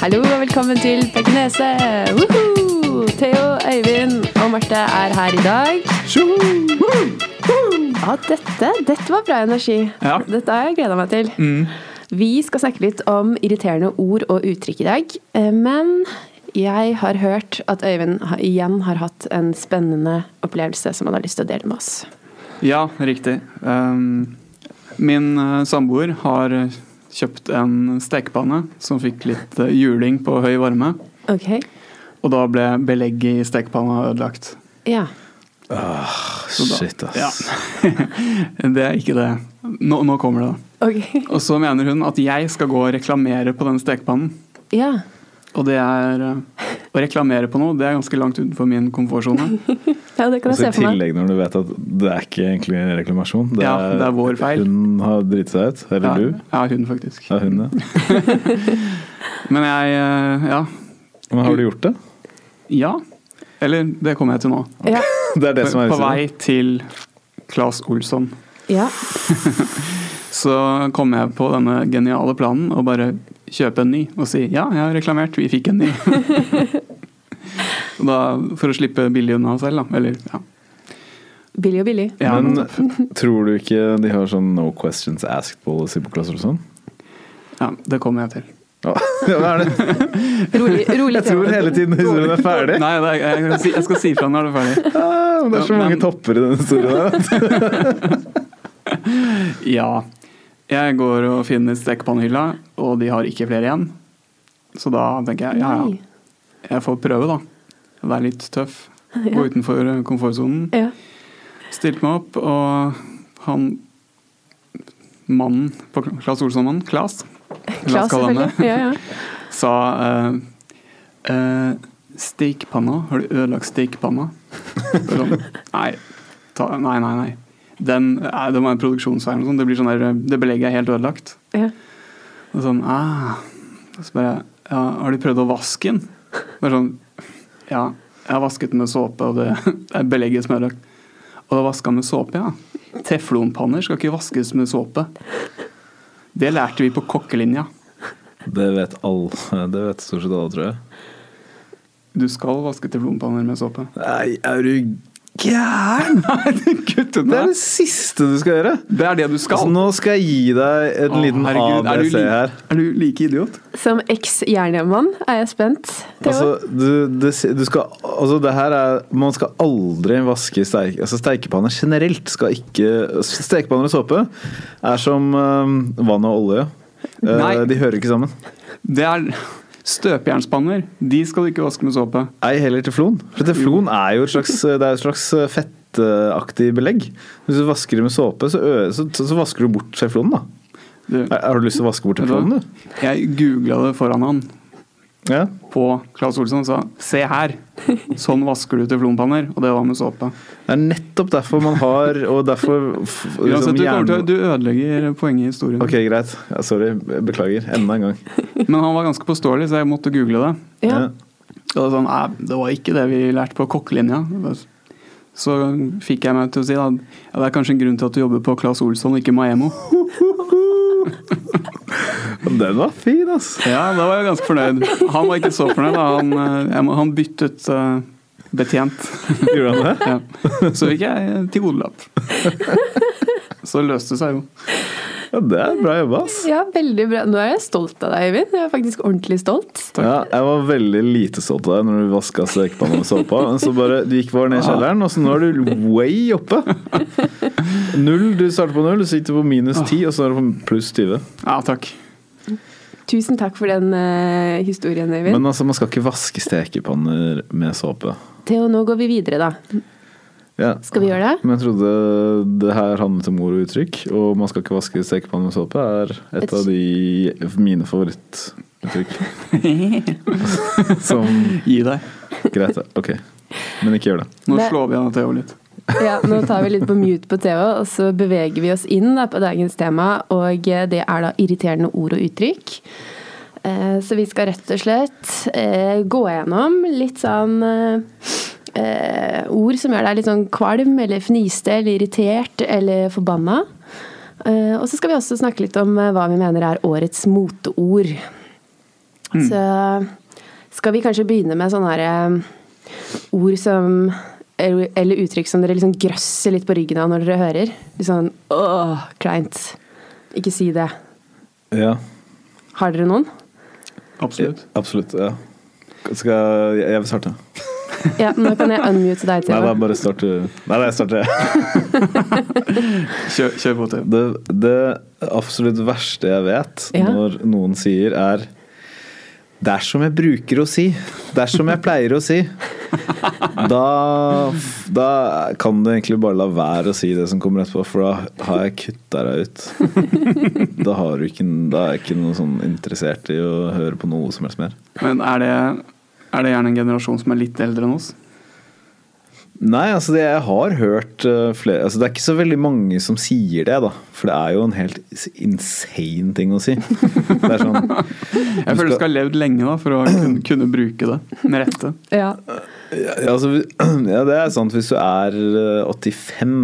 Hallo og velkommen til Pekkenese! Woohoo! Theo, Øyvind og Marte er her i dag. Ja, dette, dette var bra energi. Ja. Dette har jeg gleda meg til. Vi skal snakke litt om irriterende ord og uttrykk i dag. eh, Men jeg har hørt at Øyvind ha- igjen har hatt en spennende opplevelse som han har lyst til å dele med oss. Ja, riktig. Ehm, min eh, samboer har eh, kjøpt en stekepanne som fikk litt eh, juling på høy varme. Ok? Og da ble belegget i stekepanna ødelagt. Ja. Så da- Shit, ass. Ja. det er ikke det. Nå, nå kommer det, da. Ok. Og så mener hun at jeg skal gå og reklamere på den stekepannen. Ja. Og det er eh, Å reklamere på noe, det er ganske langt utenfor min komfortsone. ja, det kan Og jeg så se Altså, I for meg. tillegg når du vet at det er ikke egentlig en reklamasjon. Ja, det er vår feil. Hun har driti seg ut. Eller Ja, du. ja hun, faktisk. Det er hun, det. Men jeg eh, Ja. Men har du gjort det? Ja. Eller det kommer jeg til nå. Ja. Det er det som er på vei til Claes Olsson ja. så kom jeg på denne geniale planen å bare kjøpe en ny og si ja, jeg har reklamert, vi fikk en ny. Og da, for å slippe billig unna selv, da. Eller ja. Billig og billig. ja Men men, tror du ikke de har sånn no questions asked policy på Klasse Olsson? ja, det kommer jeg til. Ja, hva er det? Rolig, rolig Jeg tror tema. hele tiden historien er ferdig. Nei, det er, jeg, skal si- jeg skal si fra når det er ferdig. Ah, men det er så Ja, mange men- topper i denne historien. her, vet du. Ja. Jeg går og finner stekepannehylla, og de har ikke flere igjen. Så da tenker jeg ja, Nei. ja, jeg får prøve, da. Være litt tøff. Gå utenfor eh, komfortsonen. Ja. stilte meg opp, og han mannen på Claes Olsson-mannen, Claes, La Klas, oss kalle han det. selvfølgelig. Ja, ja. sa uh, Stekepanna, har du ødelagt stekepanna? Og Sånn, nei, ta, nei, nei, nei. Den, nei, det var en produksjonsfeil. eller noe sånt. Det blir sånn der, det belegget er helt ødelagt. Ja. Og sånn, ah. Og så bare ja, Har du prøvd å vaske den? Bare sånn Ja, jeg har vasket den med såpe, og det, det er belegget som er ødelagt. Og da vaska med såpe, ja. Teflonpanner skal ikke vaskes med såpe. Det lærte vi på kokkelinja. Det vet alle. Det vet stort sett alle, tror jeg. Du skal vaske teflonpanner med såpe. Nei, er du gæren? Kutt Det er unna! det siste du skal gjøre. Det er det du Altså, skal. nå skal jeg gi deg en liten herregud, er du ABC li- her. Er du like idiot? Som eks-jernmann er jeg spent. Theo. Altså, du, det, du skal, altså det her er Man skal aldri vaske steik, altså steikepanner generelt. Skal ikke Stekepanner og såpe er som eh, vann og olje. Eh, Nei. de hører ikke sammen. Det er støpejernspanner. De skal du ikke vaske med såpe. Ei heller teflon. For teflon er jo et slags, det er et slags eh, fettaktig belegg. Hvis du vasker det med såpe, så, ø- så, så vasker du bort teflonen, da. Du, Er- Har du lyst til å vaske bort vet du hva? teflonen, du? jeg googla det foran han. Ja. på Claes Olsson og sa se her, sånn vasker du teflonpanner. Og det var med såpe. Det er nettopp derfor man har Og derfor f- Uansett, liksom, du, kommer til, hjernen- du ødelegger poenget i Mm. historien. Ok, greit. Ja, Sorry. Beklager. Enda en gang. Men han var ganske påståelig, så jeg måtte google det. ja. Og det, var sånn, Nei, det var ikke det vi lærte på kokkelinja. Så fikk jeg meg til å si da, ja, det er kanskje en grunn til at du jobber på Claes Olsson, ikke Maemo. Den var fin, ass. Ja, da var jeg ganske fornøyd. Han var ikke så fornøyd. Da. Han, eh, jeg må- han byttet eh, betjent. Gjorde han det? Ja. Så fikk jeg tilgodelapp. Så løste det seg jo. Ja, det er bra jobba, ass. ja, veldig bra. Nå er jeg stolt av deg, Øyvind. Jeg er faktisk ordentlig stolt. Ja, jeg var veldig lite stolt av deg når du vaska stekepanna med såpa. men Så bare, du gikk bare Ah. ned i kjelleren, og så nå er du way oppe. Null, Du startet på null, så gikk du på minus 10, og så er du på pluss 20. Ja, takk. Tusen takk for den eh, historien, Øyvind. Men altså, man skal ikke vaske stekepanner med såpe. Theo, nå går vi videre, da. Ja. Skal vi gjøre det? Men jeg trodde det her handlet om ord og uttrykk, og man skal ikke vaske stekepanner med såpe er et av de mine favorittuttrykk. Som Gi deg. Greit, det. ok. Men ikke gjør det. Nå Det- slår vi av Theo litt. Ja, nå tar vi litt på mute på Theo, og så beveger vi oss inn da, på dagens tema. Og eh, det er da irriterende ord og uttrykk. Eh, Så vi skal rett og slett eh, gå gjennom litt sånn eh, eh, ord som gjør deg litt sånn kvalm eller fniste eller irritert eller forbanna. Eh, og så skal vi også snakke litt om eh, hva vi mener er årets moteord. Mm. Så skal vi kanskje begynne med sånne her, eh, ord som eller eller uttrykk som dere liksom grøsser litt på ryggen av når dere hører. Litt sånn åh, kleint. Ikke si det. Ja, Har dere noen? Absolutt. absolutt. Ja. Skal jeg, jeg vil starte. Ja, nå kan jeg unmute deg, Nei, det Theo. er bare start du. Nei, nei, jeg starter. jeg. Kjør, kjør på til. Det, det absolutt verste jeg vet Ja. når noen sier, er Det er som jeg bruker å si. Det er som jeg pleier å si. Da, da kan du egentlig bare la være å si det som kommer etterpå, for da har jeg kutta deg ut. Da, har du ikke, da er jeg ikke noe sånn interessert i å høre på noe som helst mer. Men er det, er det gjerne en generasjon som er litt eldre enn oss? Nei, altså det, jeg har hørt eh, flere altså Det er ikke så veldig mange som sier det, da. For det er jo en helt insane ting å si. Det er sånn Jeg føler du skal ha levd lenge da, for å kunne, kunne bruke det med rette. Ja. Ja, altså, ja, det er sant. Hvis du er eh, 85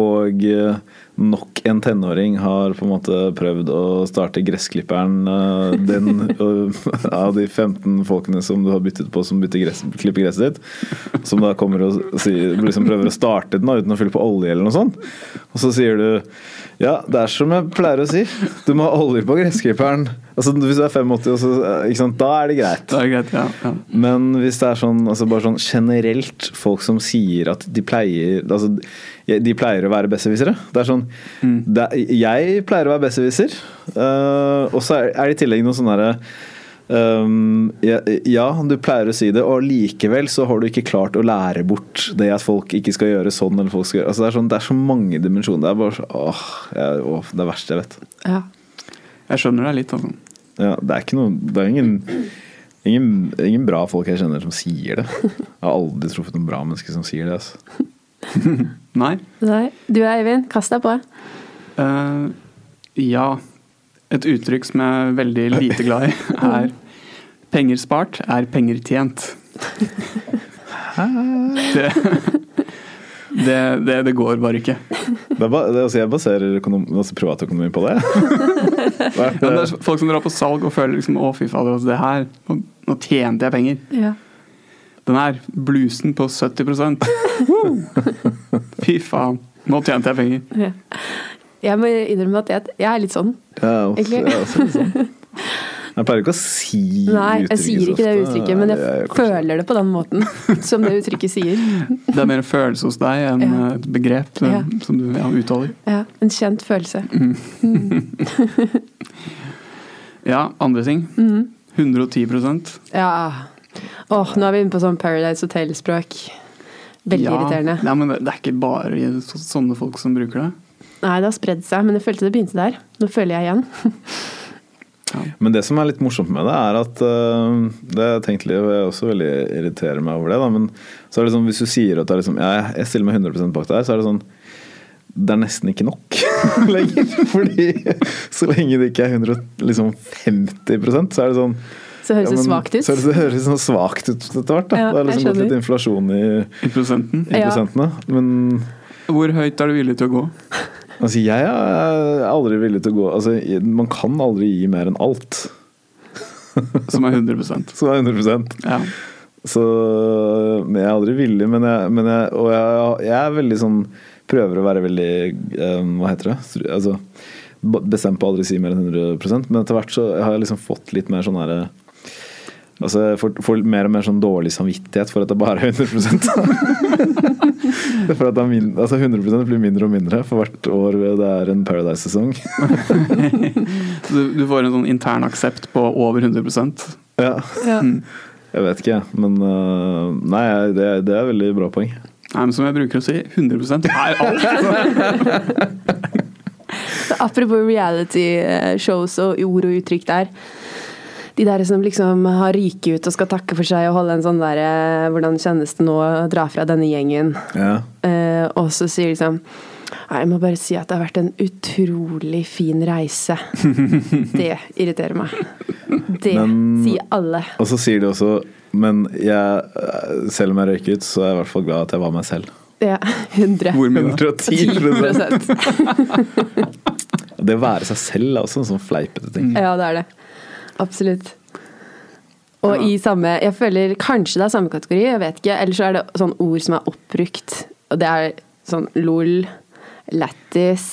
og eh, nok en tenåring har på en måte prøvd å starte gressklipperen eh, den, eh, av de 15 folkene som du har byttet på som bytter gress, klipper gresset ditt, som da kommer og si, liksom prøver å starte den da, uten å fylle på olje eller noe sånt, og så sier du ja, det er som jeg pleier å si. Du må ha olje på gressklipperen. Altså, hvis du er 85, og så, eh, ikke sant? da er det greit. Det er greit, ja. ja. Men hvis det er sånn, altså bare sånn generelt folk som sier at de pleier altså, De pleier å være besserwissere. Det er sånn det, er- Jeg pleier å være besserwisser. eh, og så er, er det i tillegg noe sånn herre ehm, ja, ja, du pleier å si det, og likevel så har du ikke klart å lære bort det at folk ikke skal gjøre sånn eller folk skal gjøre altså, det, er sånn, det er så mange dimensjoner. Det er bare så, åh, jeg, åh, det er verste jeg vet. ja. Jeg skjønner deg litt. Altså. Ja, det er ikke noe Det er ingen, ingen, ingen bra folk jeg kjenner som sier det. Jeg har aldri truffet noen bra mennesker som sier det. Altså. Nei. Nei. Du Eivind, kast deg på. Eh, ja. Et uttrykk som jeg er veldig lite glad i, er 'penger spart er penger tjent'. Det, det, det, det går bare ikke. Det er ba, det, altså, jeg baserer økonom, altså, privatøkonomi på det. Ja, men Hva er det Eh. det. er folk som drar på salg og føler liksom 'å, fy fader, altså, det her nå, nå tjente jeg penger'. Ja. Den her blusen på 70 Woo! Fy faen, nå tjente jeg penger. Ja. Jeg må innrømme at jeg, jeg er litt sånn. Ja, også, Egentlig. ja, også, litt sånn. Jeg pleier ikke å si Nei, jeg uttrykket sier så ikke det ofte. uttrykket, men Nei, jeg jeg gjør kanskje det. føler det på den måten som det uttrykket sier. Det er mer en følelse hos deg enn Ja. eh, et begrep eh, Ja. som du ja, uttaler. Ja, En kjent følelse. Ja, andre ting. Mhm. 110 Ja. Åh, nå er vi inne på sånn Paradise Hotel-språk. Veldig ja. irriterende. Nei, men det det er ikke bare så- sånne folk som bruker det. Nei, det har spredd seg, men jeg følte det begynte der. Nå føler jeg igjen. Men det som er litt morsomt med det, er at øh, Det har jeg tenkt litt, og jeg også veldig irriterer meg over det. Da, men så er det sånn, hvis du sier at det er liksom, ja, jeg stiller meg 100 bak deg, så er det sånn Det er nesten ikke nok lenger. Fordi så lenge det ikke er 150 liksom 50%, så er det sånn Så høres ja, det men- svakt ut. Så er det, det høres sånn svakt ut etter hvert. Da. Ja, det er jeg liksom gått skjønner. litt inflasjon i, I prosenten. i Ja. prosentene. Men Hvor høyt er du villig til å gå? altså, jeg er aldri villig til å gå altså, Man kan aldri gi mer enn alt Som er 100 som er 100 ja. Så men Jeg er aldri villig, men jeg, men jeg Og jeg, jeg er veldig sånn Prøver å være veldig eh, Hva heter det? Stru- Altså, ba- bestemt på å aldri si mer enn 100 men etter hvert så har jeg liksom fått litt mer sånn herre Altså, jeg får, får mer og mer sånn dårlig samvittighet for at det bare er 100 For at det er min, altså 100 blir mindre og mindre for hvert år det er en Paradise-sesong. Så du, du får en sånn intern aksept på over 100 ja, Ja. Hmm. jeg vet ikke, jeg. Men eh, nei, det, det er veldig bra poeng. Nei, men som jeg bruker å si, 100 er alt! Så Apropos reality-shows og ord og uttrykk der. De der som liksom har ryket ut og skal takke for seg og holde en sånn derre 'Hvordan kjennes det nå å dra fra denne gjengen?' Ja. Eh, og så sier de sånn Nei, jeg må bare si at det har vært en utrolig fin reise. Det irriterer meg. Det Men- sier alle. Og så sier de også Men jeg, selv om jeg røyker ut, så er jeg i hvert fall glad at jeg var meg selv. Ja, 100. Hvor mye da? 110 Mm. Det å være seg selv er også en sånn fleipete ting. Ja, det er det. Absolutt. Og i samme Jeg føler kanskje det er samme kategori, jeg vet ikke. Eller så er det sånn ord som er oppbrukt. Og det er sånn lol, lættis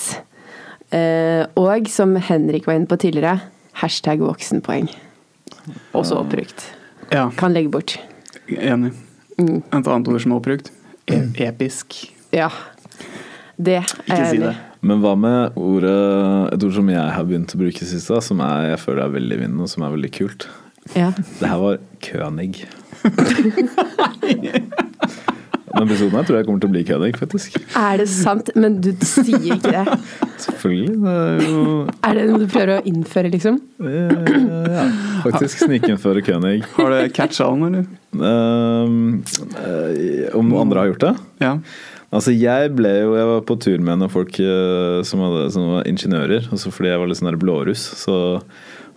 eh, Og som Henrik var inne på tidligere, hashtag voksenpoeng. Også oppbrukt. Ja, Kan legge bort. enig. Mm. Et annet ord som er oppbrukt. E episk. Ja. Det er Ikke jeg si enig det. i. Men hva med ordet, et ord som jeg har begynt å bruke i siste, da, som er, jeg føler er veldig vinden, og som er veldig kult? Ja. Det her var König. Denne episoden her tror jeg kommer til å bli König, faktisk. Er det sant? Men du sier ikke det. Selvfølgelig. Det er jo Er det noe du prøver å innføre, liksom? eh, ja, faktisk snikinnføre König. Har det catcha han, eller? Um, eh, om noen andre har gjort det? Ja. Altså Jeg ble jo, jeg var på tur med noen folk eh, som, hadde, som var ingeniører. Og så fordi jeg var litt sånn der blåruss, så,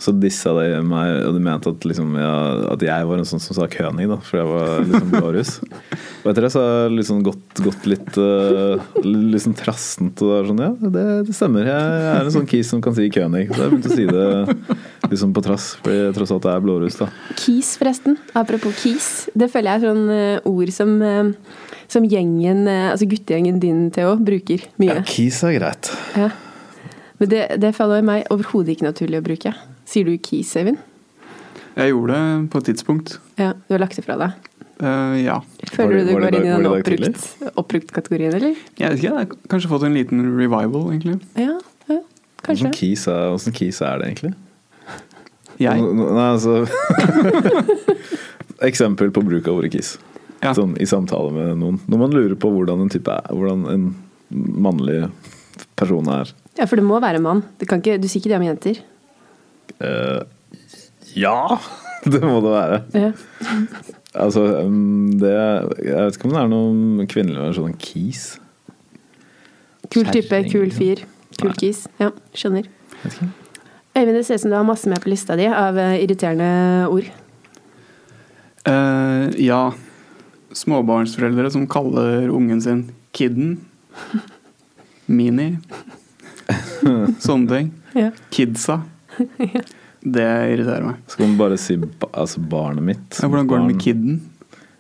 så dissa de meg. Og de mente at, liksom, jeg, at jeg var en sånn som sa König, da, fordi jeg var liksom blåruss. og etter det så har jeg liksom gått, gått litt eh, litt sånn trassent. Og det er sånn, ja, det, det stemmer. Jeg, jeg er en sånn kis som kan si König. Så jeg begynte å si det liksom på trass, fordi jeg tross alt er blåruss. da Kis, forresten. Apropos kis. Det føler jeg er sånn eh, ord som, eh, som gjengen, eh, altså guttegjengen din, Theo, bruker Ja, mye. Kis er greit. Ja. Men det, det faller meg overhodet ikke naturlig å bruke. Sier du kis, Eivind? Jeg gjorde det på et tidspunkt. Ja, du har lagt det fra deg. Eh, ja. Var Føler det- du det var det går inn i dag- den var det i dag oppbrukt, oppbrukt kategorien, eller? Jeg vet ikke, jeg har kanskje fått en liten revival, egentlig. Ja, ja Åssen kanskje. kis, er- sånn hvordan kis er det egentlig? Jeg. Nå- nå- Nei, altså Eksempel på bruk av ordet kiss. Ja. Sånn i samtale med noen. Når man lurer på hvordan en type er, hvordan en mannlig person er. Ja, for det må være mann. Det kan ikke, du sier ikke det om jenter. Eh, ja! Det må det være. Ja. Altså, um, det Jeg vet ikke om det er noen kvinnelig versjon av kis. Kul type, Kjerring, kul ja. fyr. Kul Nei. kis. Ja, skjønner. Vet ikke. Øyvind, det ser ut som du har masse med på lista di av eh, irriterende ord. Eh, ja. Småbarnsforeldre som kaller ungen sin Kidden. Mini. Sånne ting. Ja. Kidsa. Det irriterer meg. Skal man bare si ba, altså barnet mitt? Ja, hvordan går det med Barn- kidden?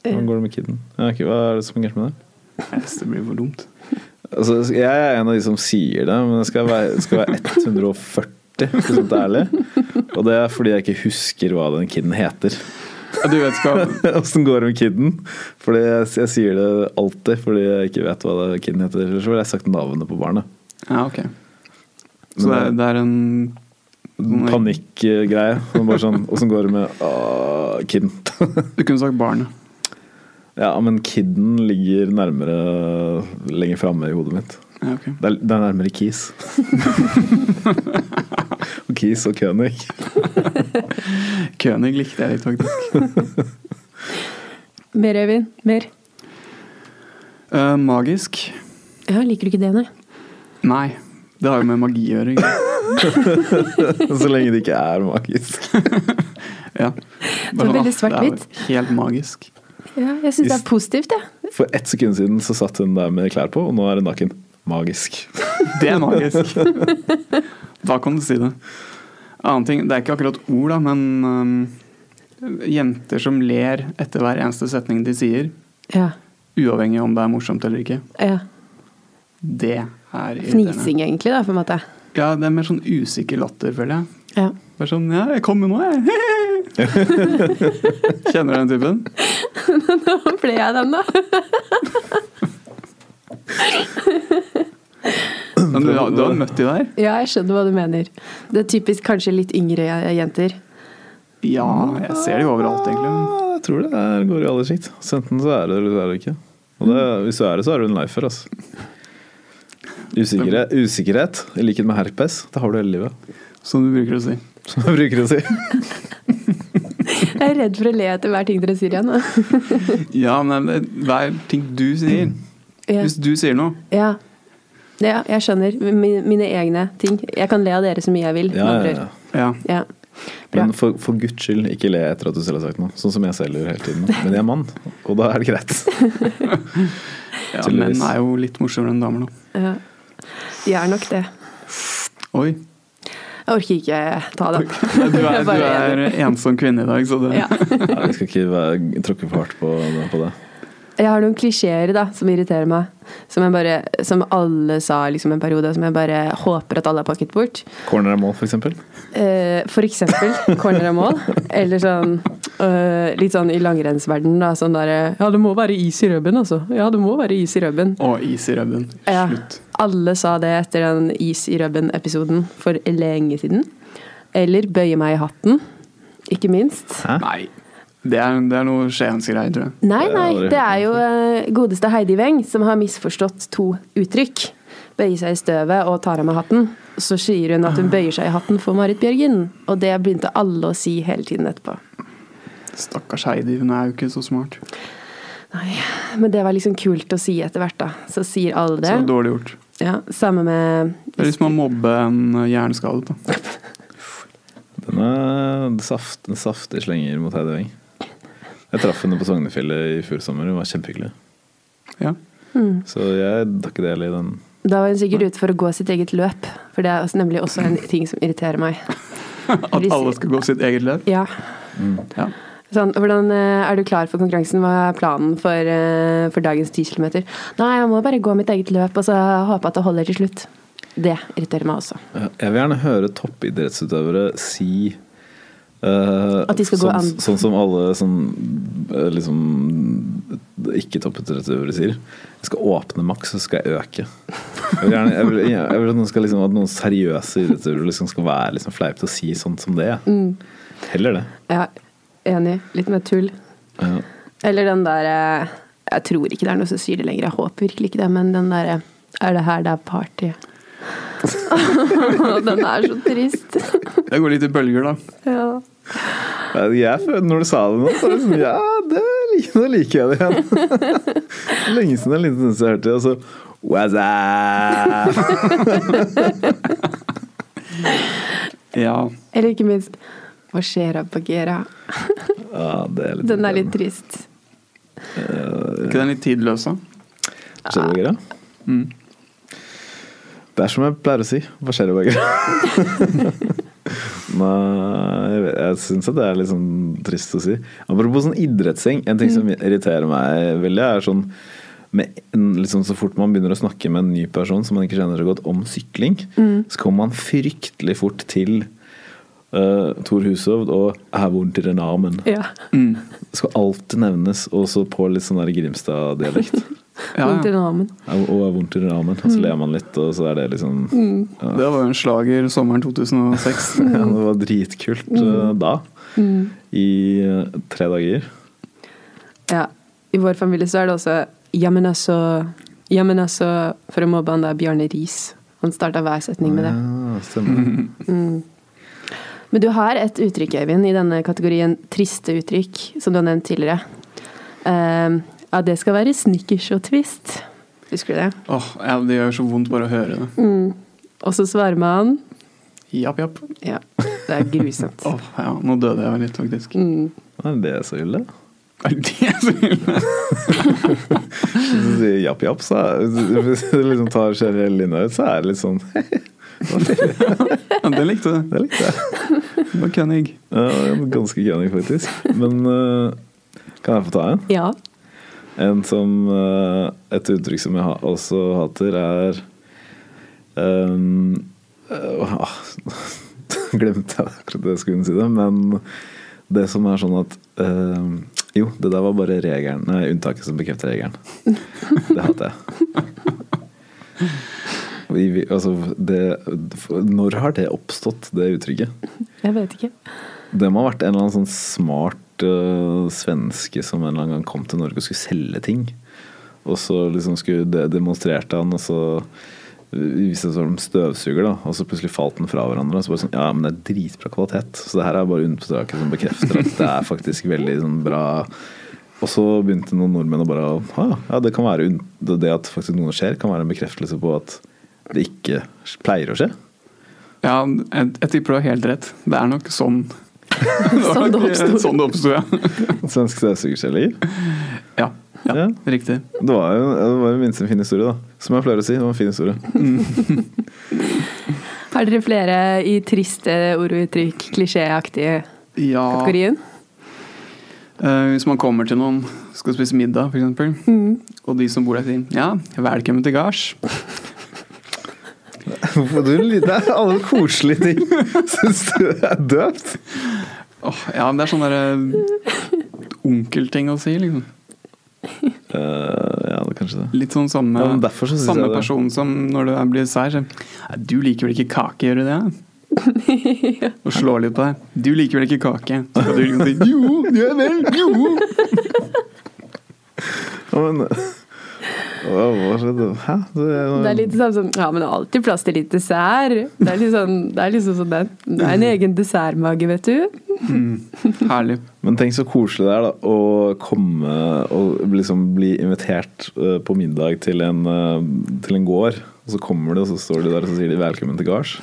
Hvordan går det med kiden? Ja, ok, hva er det som er gærent med det? Yes, det blir for dumt. Altså, jeg er en av de som sier det, men jeg skal være, skal være 140 for sånt ærlig. Og det er fordi jeg ikke husker hva den kiden heter. Ja, Du vet hva Åssen går det med kiden? Fordi jeg, jeg sier det alltid fordi jeg ikke vet hva det kiden heter. Ellers ville jeg sagt navnet på barnet. Ja, ok. Så det er, det er en Panikkgreie. Sånn bare sånn Åssen går det med ah, kiden? Du kunne sagt barnet. Ja, men kiden ligger nærmere lenger framme i hodet mitt. Ja, ok. Det er, det er nærmere Kis. og Kis og König. König likte jeg litt, faktisk. Mer, Øyvind? Mer? Eh, magisk? Ja, liker du ikke det, nei? Nei. Det har jo med magi å gjøre. ikke? Så lenge det ikke er magisk. Det Ja. var sånn, veldig ah, det er svart-hvitt. Helt magisk. Ja, jeg syns det er positivt, jeg. For ett sekund siden så satt hun der med klær på, og nå er hun naken. Magisk. Det er magisk. Da kan du si det. Annen ting, det er ikke akkurat ord, da, men øhm, jenter som ler etter hver eneste setning de sier, Ja. uavhengig om det er morsomt eller ikke, ja. det er irriterende. Fnising, egentlig, da, på en måte. Ja, det er mer sånn usikker latter, føler jeg. Ja. Bare sånn Ja, jeg kommer nå, jeg. Kjenner du den typen? Nå ble jeg den, da. Men du, du har møtt de der? Ja, jeg skjønner hva du mener. Det er typisk kanskje litt yngre jenter. Ja, jeg ser de overalt, egentlig. Ja, jeg tror det er, går i alle sjikt. Så Enten så er det, eller så er det ikke. Og det, Mm. hvis du er det, så er du en lifer, altså. Usikkerhet, usikkerhet i likhet med herpes, det har du hele livet. Som du bruker å si. Som jeg bruker å si. Jeg er redd for å le etter hver ting dere sier igjen. da. Ja, men det er hver ting du sier. Ja. Hvis du sier noe ja. Ja, jeg skjønner. Min- Mine egne ting. Jeg kan le av dere så mye jeg vil. Ja, med andre ja, ja. ord. Ja. ja. Bra. Men for, for guds skyld, ikke le etter at du selv har sagt noe. Sånn som jeg selv gjør hele tiden. Men jeg er mann, og da er det greit. Ja, Tydeligvis. menn er jo litt morsommere enn damer, da. Ja. De er nok det. Oi. Jeg orker ikke ta den. Du er, Jeg du bare er er ensom kvinne i dag, så det Ja. Nei, jeg skal ikke være, tråkke for hardt på, på det. Jeg har noen klisjeer da, som irriterer meg. Som, jeg bare, som alle sa liksom en periode, som jeg bare håper at alle har pakket bort. Corner er mål, f.eks. Eh, for eksempel corner er mål. Eller sånn eh, litt sånn i langrennsverdenen. da, Sånn derre Ja, det må være is i rubben, altså. Ja, det må være is i rubben. Og is i rubben. Ja. Slutt. Alle sa det etter den Is i rubben-episoden for lenge siden. Eller Bøye meg i hatten, ikke minst. Hæ? Nei. Det er, det er noe Skiens-greier, tror jeg. Nei, Det har jeg nei, aldri det hørt er jo eh, godeste Heidi Weng som har misforstått to uttrykk. Bøye seg i støvet og tar av meg hatten. Så sier hun at hun bøyer seg i hatten for Marit Bjørgen. Og det begynte alle å si hele tiden etterpå. Stakkars Heidi, hun er jo ikke så smart. Nei, Men det var liksom kult å si etter hvert, da. Så sier alle Så det. dårlig gjort. Ja, Samme Det er med liksom å mobbe en hjerneskadet. Da. Den er en saft, en saftig slenger mot Heidi Weng. Jeg traff henne på Sognefjellet i fjor sommer. Hun var kjempehyggelig. Ja. Så jeg tar ikke del i den. Da var hun sikkert ute for å gå sitt eget løp. For det er også- nemlig også en ting som irriterer meg. At alle skal gå sitt eget løp. Ja. Ja. Sånn, hvordan eh, er du klar for konkurransen? Hva er planen for, eh, for dagens 10 km? Nei, jeg må bare gå mitt eget løp og så håpe at det holder til slutt. Det irriterer meg også. Jeg vil gjerne høre toppidrettsutøvere si eh, At de skal gå sånn, an. Sånn som alle sånn, eh, liksom, ikke-toppidrettsutøvere sier. Jeg skal åpne maks, så skal jeg øke. Jeg vil, gjerne, jeg vil, jeg vil at, noen skal, liksom, at noen seriøse idrettsutøvere liksom, skal være liksom, fleipe til å si sånt som det. Mm. Heller det. Ja, enig. Litt mer tull. Ja. Eller den der eh, Jeg tror ikke det er noe som sier det lenger, jeg håper virkelig ikke det, men den derre Er det her det er party? den er så trist. Det går litt i bølger, da. ja. Ja, Jeg føler, når du sa det nå, så var det sånn Ja, det liker, nå liker jeg det igjen. Lenge siden en liten stund siden jeg hørte det. Og så What's up? Ja. Eller ikke minst Hva skjer på Gera? Ja, det er litt Den er litt trist. Er ikke den litt tidløs, da? Skjer det, Bagheera? Det er som jeg pleier å si. Hva skjer, Bagheera? Nei, jeg, vet- jeg syns at det er litt sånn trist å si. Apropos sånn idrettsing, en ting som irriterer meg veldig, er sånn med, en- liksom Så fort man begynner å snakke med en ny person som man ikke kjenner så godt, om sykling, så kommer man fryktelig fort til uh, Tor Hushovd og 'Jeg har vondt i den armen'. Ja. Skal alltid nevnes, også på litt sånn der Grimstad-dialekt. Ja, Vondt i ja. namen. Og og har vondt i ramen. Og så ler man litt, og så er det liksom Det var jo en slager sommeren 2006. ja, Det var dritkult eh, da. I eh, tre dager. Ja. I vår familie så er det også Ja, men altså Ja, men altså For å mobbe han der Bjarne Riis. Han starta hver setning med det. Ja, Ah, stemmer. Men du har et uttrykk, Øyvind, i denne kategorien triste uttrykk, som du har nevnt tidligere. Ehm, ja, det skal være snickers og twist. Husker du det? Åh, ja, Det gjør så vondt bare å høre det. Mm. Og så svarer man Japp, japp. Ja, det er grusomt. Åh, ja, nå døde jeg litt, faktisk. Er det så ille? Er det så ille? Hvis du sier japp japp, så er, hvis du liksom tar skjærer hele linja ut, så er det litt sånn Ja, det likte du. Det likte jeg. Det var Kennig. Ja, ganske gøy, faktisk. Men eh, kan jeg få ta en? Ja. En som eh, Et uttrykk som jeg ha, også hater, er ehm, eh, ah, Glemte jeg akkurat det jeg skulle si det, men det som er sånn at ehm, Jo, det der var bare regelen, nei, unntaket som bekrefter regelen. Det hater jeg. Vi, vi, altså, det, når har det oppstått, det uttrykket? Jeg vet ikke. Det må ha vært en eller annen sånn smart øh, svenske som en eller annen gang kom til Norge og skulle selge ting. Og så liksom skulle de demonstrerte han, og så viste det seg som støvsuger, da. Og så plutselig falt den fra hverandre. Og så bare sånn Ja, men det er dritbra kvalitet. Så det her er bare unntaket som bekrefter at det er faktisk veldig sånn bra. Og så begynte noen nordmenn å bare «Å Ja, ja, det kan være unn- det at faktisk noe skjer, kan være en bekreftelse på at det ikke pleier å skje. Ja, jeg, jeg tipper du har helt rett. Det er nok sånn det var Sånn det nok, eh, oppstod. Sånn det oppsto, ja. Svensk støvsugerselger. ja. Ja, Ja. riktig. Det var jo det var jo minst en fin historie, da. Som jeg pleier å si, det var en fin historie. Har Har dere flere i triste ord og uttrykk, klisjéaktige Ja, kategorien? eh, hvis man kommer til noen, skal spise middag f.eks., og de som bor der sier ja, velkommen til gards. Hvorfor du lyder- Det er alle koselige ting. Syns du det er døvt? Åh, ja, men det er sånn derre onkelting å si, liksom. Eh, ja, det er kanskje det. Litt sånn samme, Ja, men derfor så synes samme jeg det. person som når du er- blir sær. Så, «Nei, du liker vel ikke kake, gjør du det? Og slår litt på deg. Du liker vel ikke kake? Så skal du liksom si jo, ja vel, jo. Ja, men Hva hva skjedde? Hæ? Det, Det er litt sånn, sånn Ja, men det er alltid plass til litt dessert. Det er litt sånn, det er liksom sånn den. Det er en egen dessertmage, vet du. Herlig. Men tenk så koselig det er da å komme og liksom bli invitert eh, på middag til en, eh, til en gård. Og så kommer de, og så står de der og så sier de 'velkommen til gards'.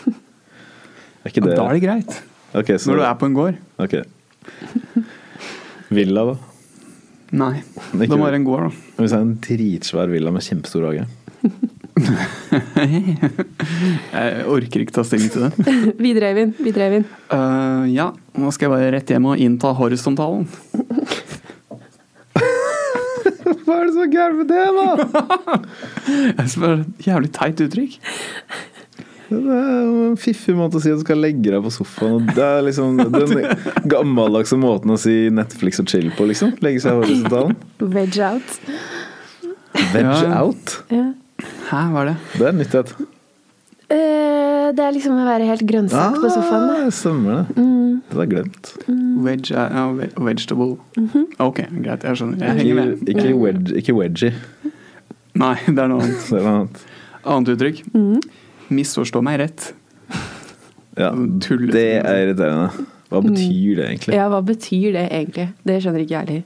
Er ikke Ja, det da er det greit. Ok, så, Når du er på en gård. ok. Villa, da? Nei. Ikke- Da må det være en gård, da. Hvis det er en dritsvær villa med kjempestor hage. Jeg orker ikke ta stilling til det. Videre, Eivind. Videre, Eivind. Eh, ja, nå skal jeg bare rett hjem og innta horisontalen. Hva er det som er gærent med det, da?! Jeg synes det er et Jævlig teit uttrykk. Det er jo en fiffig måte å si at du skal legge deg på sofaen. og Det er liksom den gammeldagse måten å si Netflix og chill på, liksom. Legge seg i horisontalen. Veg out. Veg Ja. out. Ja. Hæ, hva er det? Det er nyttighet. Eh, det er liksom å være helt grønnsak på sofaen. Da. Ah, stemmer det. Det er glemt. Veg, eh, ja, ve- vegetable. Ok, greit. Jeg skjønner. Jeg henger Ikke, med. ikke, wedge, ikke wedgie. Nei, det er noe annet. Det er noe annet. Annet uttrykk. Misforstå meg rett. Ja, Tullete. det er irriterende. Hva betyr det egentlig? Ja, hva betyr det egentlig? Det skjønner ikke jeg heller.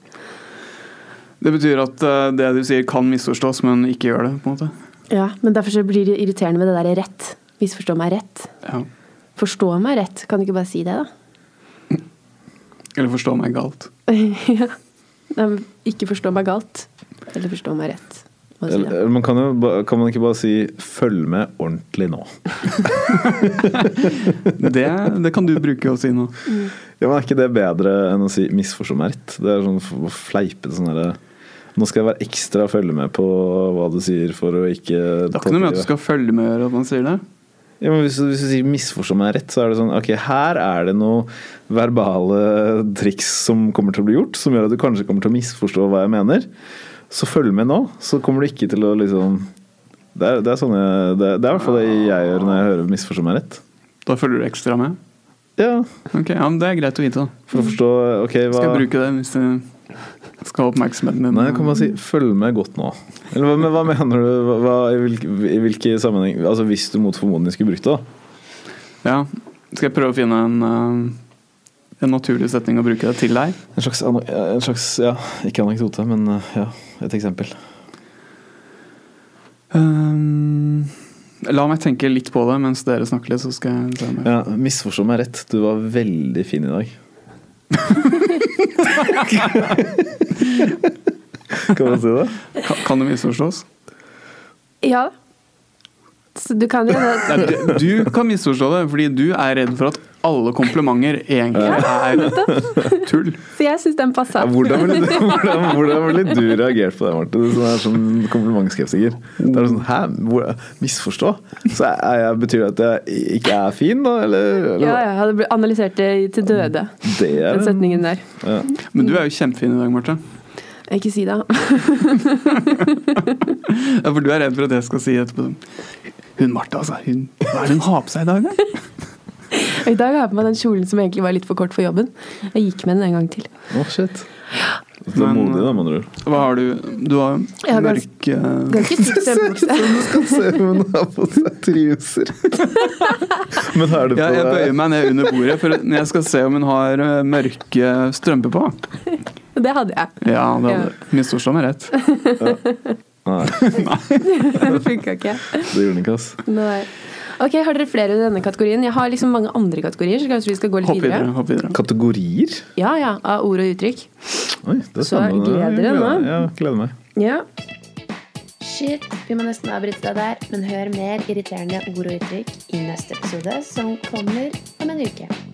Det betyr at eh, det du sier kan misforstås, men ikke gjør det. på en måte. Ja, men derfor så blir det irriterende med det derre rett. Misforstå meg rett. Ja. Forstå meg rett. Kan du ikke bare si det, da? Eller forstå meg galt. ja. Nei, men ikke forstå meg galt. Eller forstå meg rett. Må du si Eller- det. eller Man kan, jo, ba- kan man ikke bare si 'følg med ordentlig nå'? Det, det kan du bruke å si nå. Ja, men Er ikke det bedre enn å si 'misforstå meg rett'? Det er sånn f- fleipete sånn derre Nå skal jeg være ekstra følge med på hva du sier for å ikke Det har ikke noe med at du skal følge med å gjøre at man sier det. Ja, men hvis, du- hvis du sier 'misforstå meg rett', så er det sånn Ok, her er det noen verbale triks som kommer til å bli gjort, som gjør at du kanskje kommer til å misforstå hva jeg mener. Så følg med nå, så kommer du ikke til å liksom Det er, det er, sånne, det, det er i hvert fall det jeg gjør når jeg hører 'misforstå meg rett'. Da følger du ekstra med. Ja, Ok, ja, men Det er greit å vite. da. For å forstå ok, hva, Mm. Skal jeg bruke det hvis du skal ha oppmerksomheten din? Nei, kan man si 'følg med godt nå'? Eller hva, men hva mener du? Hva, hva, i, hvilke, I hvilke sammenheng Altså Hvis du mot formodning skulle brukt det, da? Ja. Skal jeg prøve å finne en, eh, en naturlig setning å bruke det til deg? En slags, ano- en slags ja, ikke anekdote, men eh, ja, et eksempel. Ehm, la meg tenke litt på det mens dere snakker litt, så skal jeg se meg. Ja, Misforstå meg rett, du var veldig fin i dag. kan man si det? Kan, kan det misforstås? Ja. Så du kan jo det. Nei, du, du kan misforstå det, fordi du er redd for at alle komplimenter egentlig er tull. Så jeg syns den passa. Ja, hvordan, ville du, hvordan, hvordan ville du reagert på det, Martin? Du som er sånn komplimentskeptiker. Det er sånn, Hæ? Hvor, misforstå? Så er jeg, betyr det at jeg ikke er fin, da? Eller, eller Ja, jeg hadde blitt analysert det til døde, Det er den setningen der. ja. Men du er jo kjempefin i dag, Marte. Ikke si det. Ja, for du er redd for at jeg skal si etterpå Hun Marte, altså. Hun, hva er det hun har på seg i dag, da? I dag har jeg på meg den kjolen som egentlig var litt for kort for jobben. Jeg gikk med den en gang til. Å, shit. Du er Men- modig, da, med andre ord. Hva har du? Du har eh, Jeg har gans- mørke Ganske Det tykk ser ut strømpebukse. som du skal se om hun har på seg truser. Men er det ja, på Jeg bøyer deg? meg ned under bordet, for når jeg skal se om hun har eh, mørke strømper på. Det hadde jeg. Ja, det hadde misforstå meg rett. Nei, Det funka ikke. det gjorde den ikke, ass. Nei. Ok, Har dere flere i denne kategorien? Jeg har liksom mange andre kategorier. så kanskje vi skal gå litt Hopp videre. videre. Hopp videre. Kategorier? Ja, ja, Av ord og uttrykk. Oi, det er Så spennende. gleder Jeg dere nå? Ja, gleder meg. Ja. skjer. Vi må nesten avbryte deg der, men hør mer irriterende ord og uttrykk i neste episode, som kommer om en uke.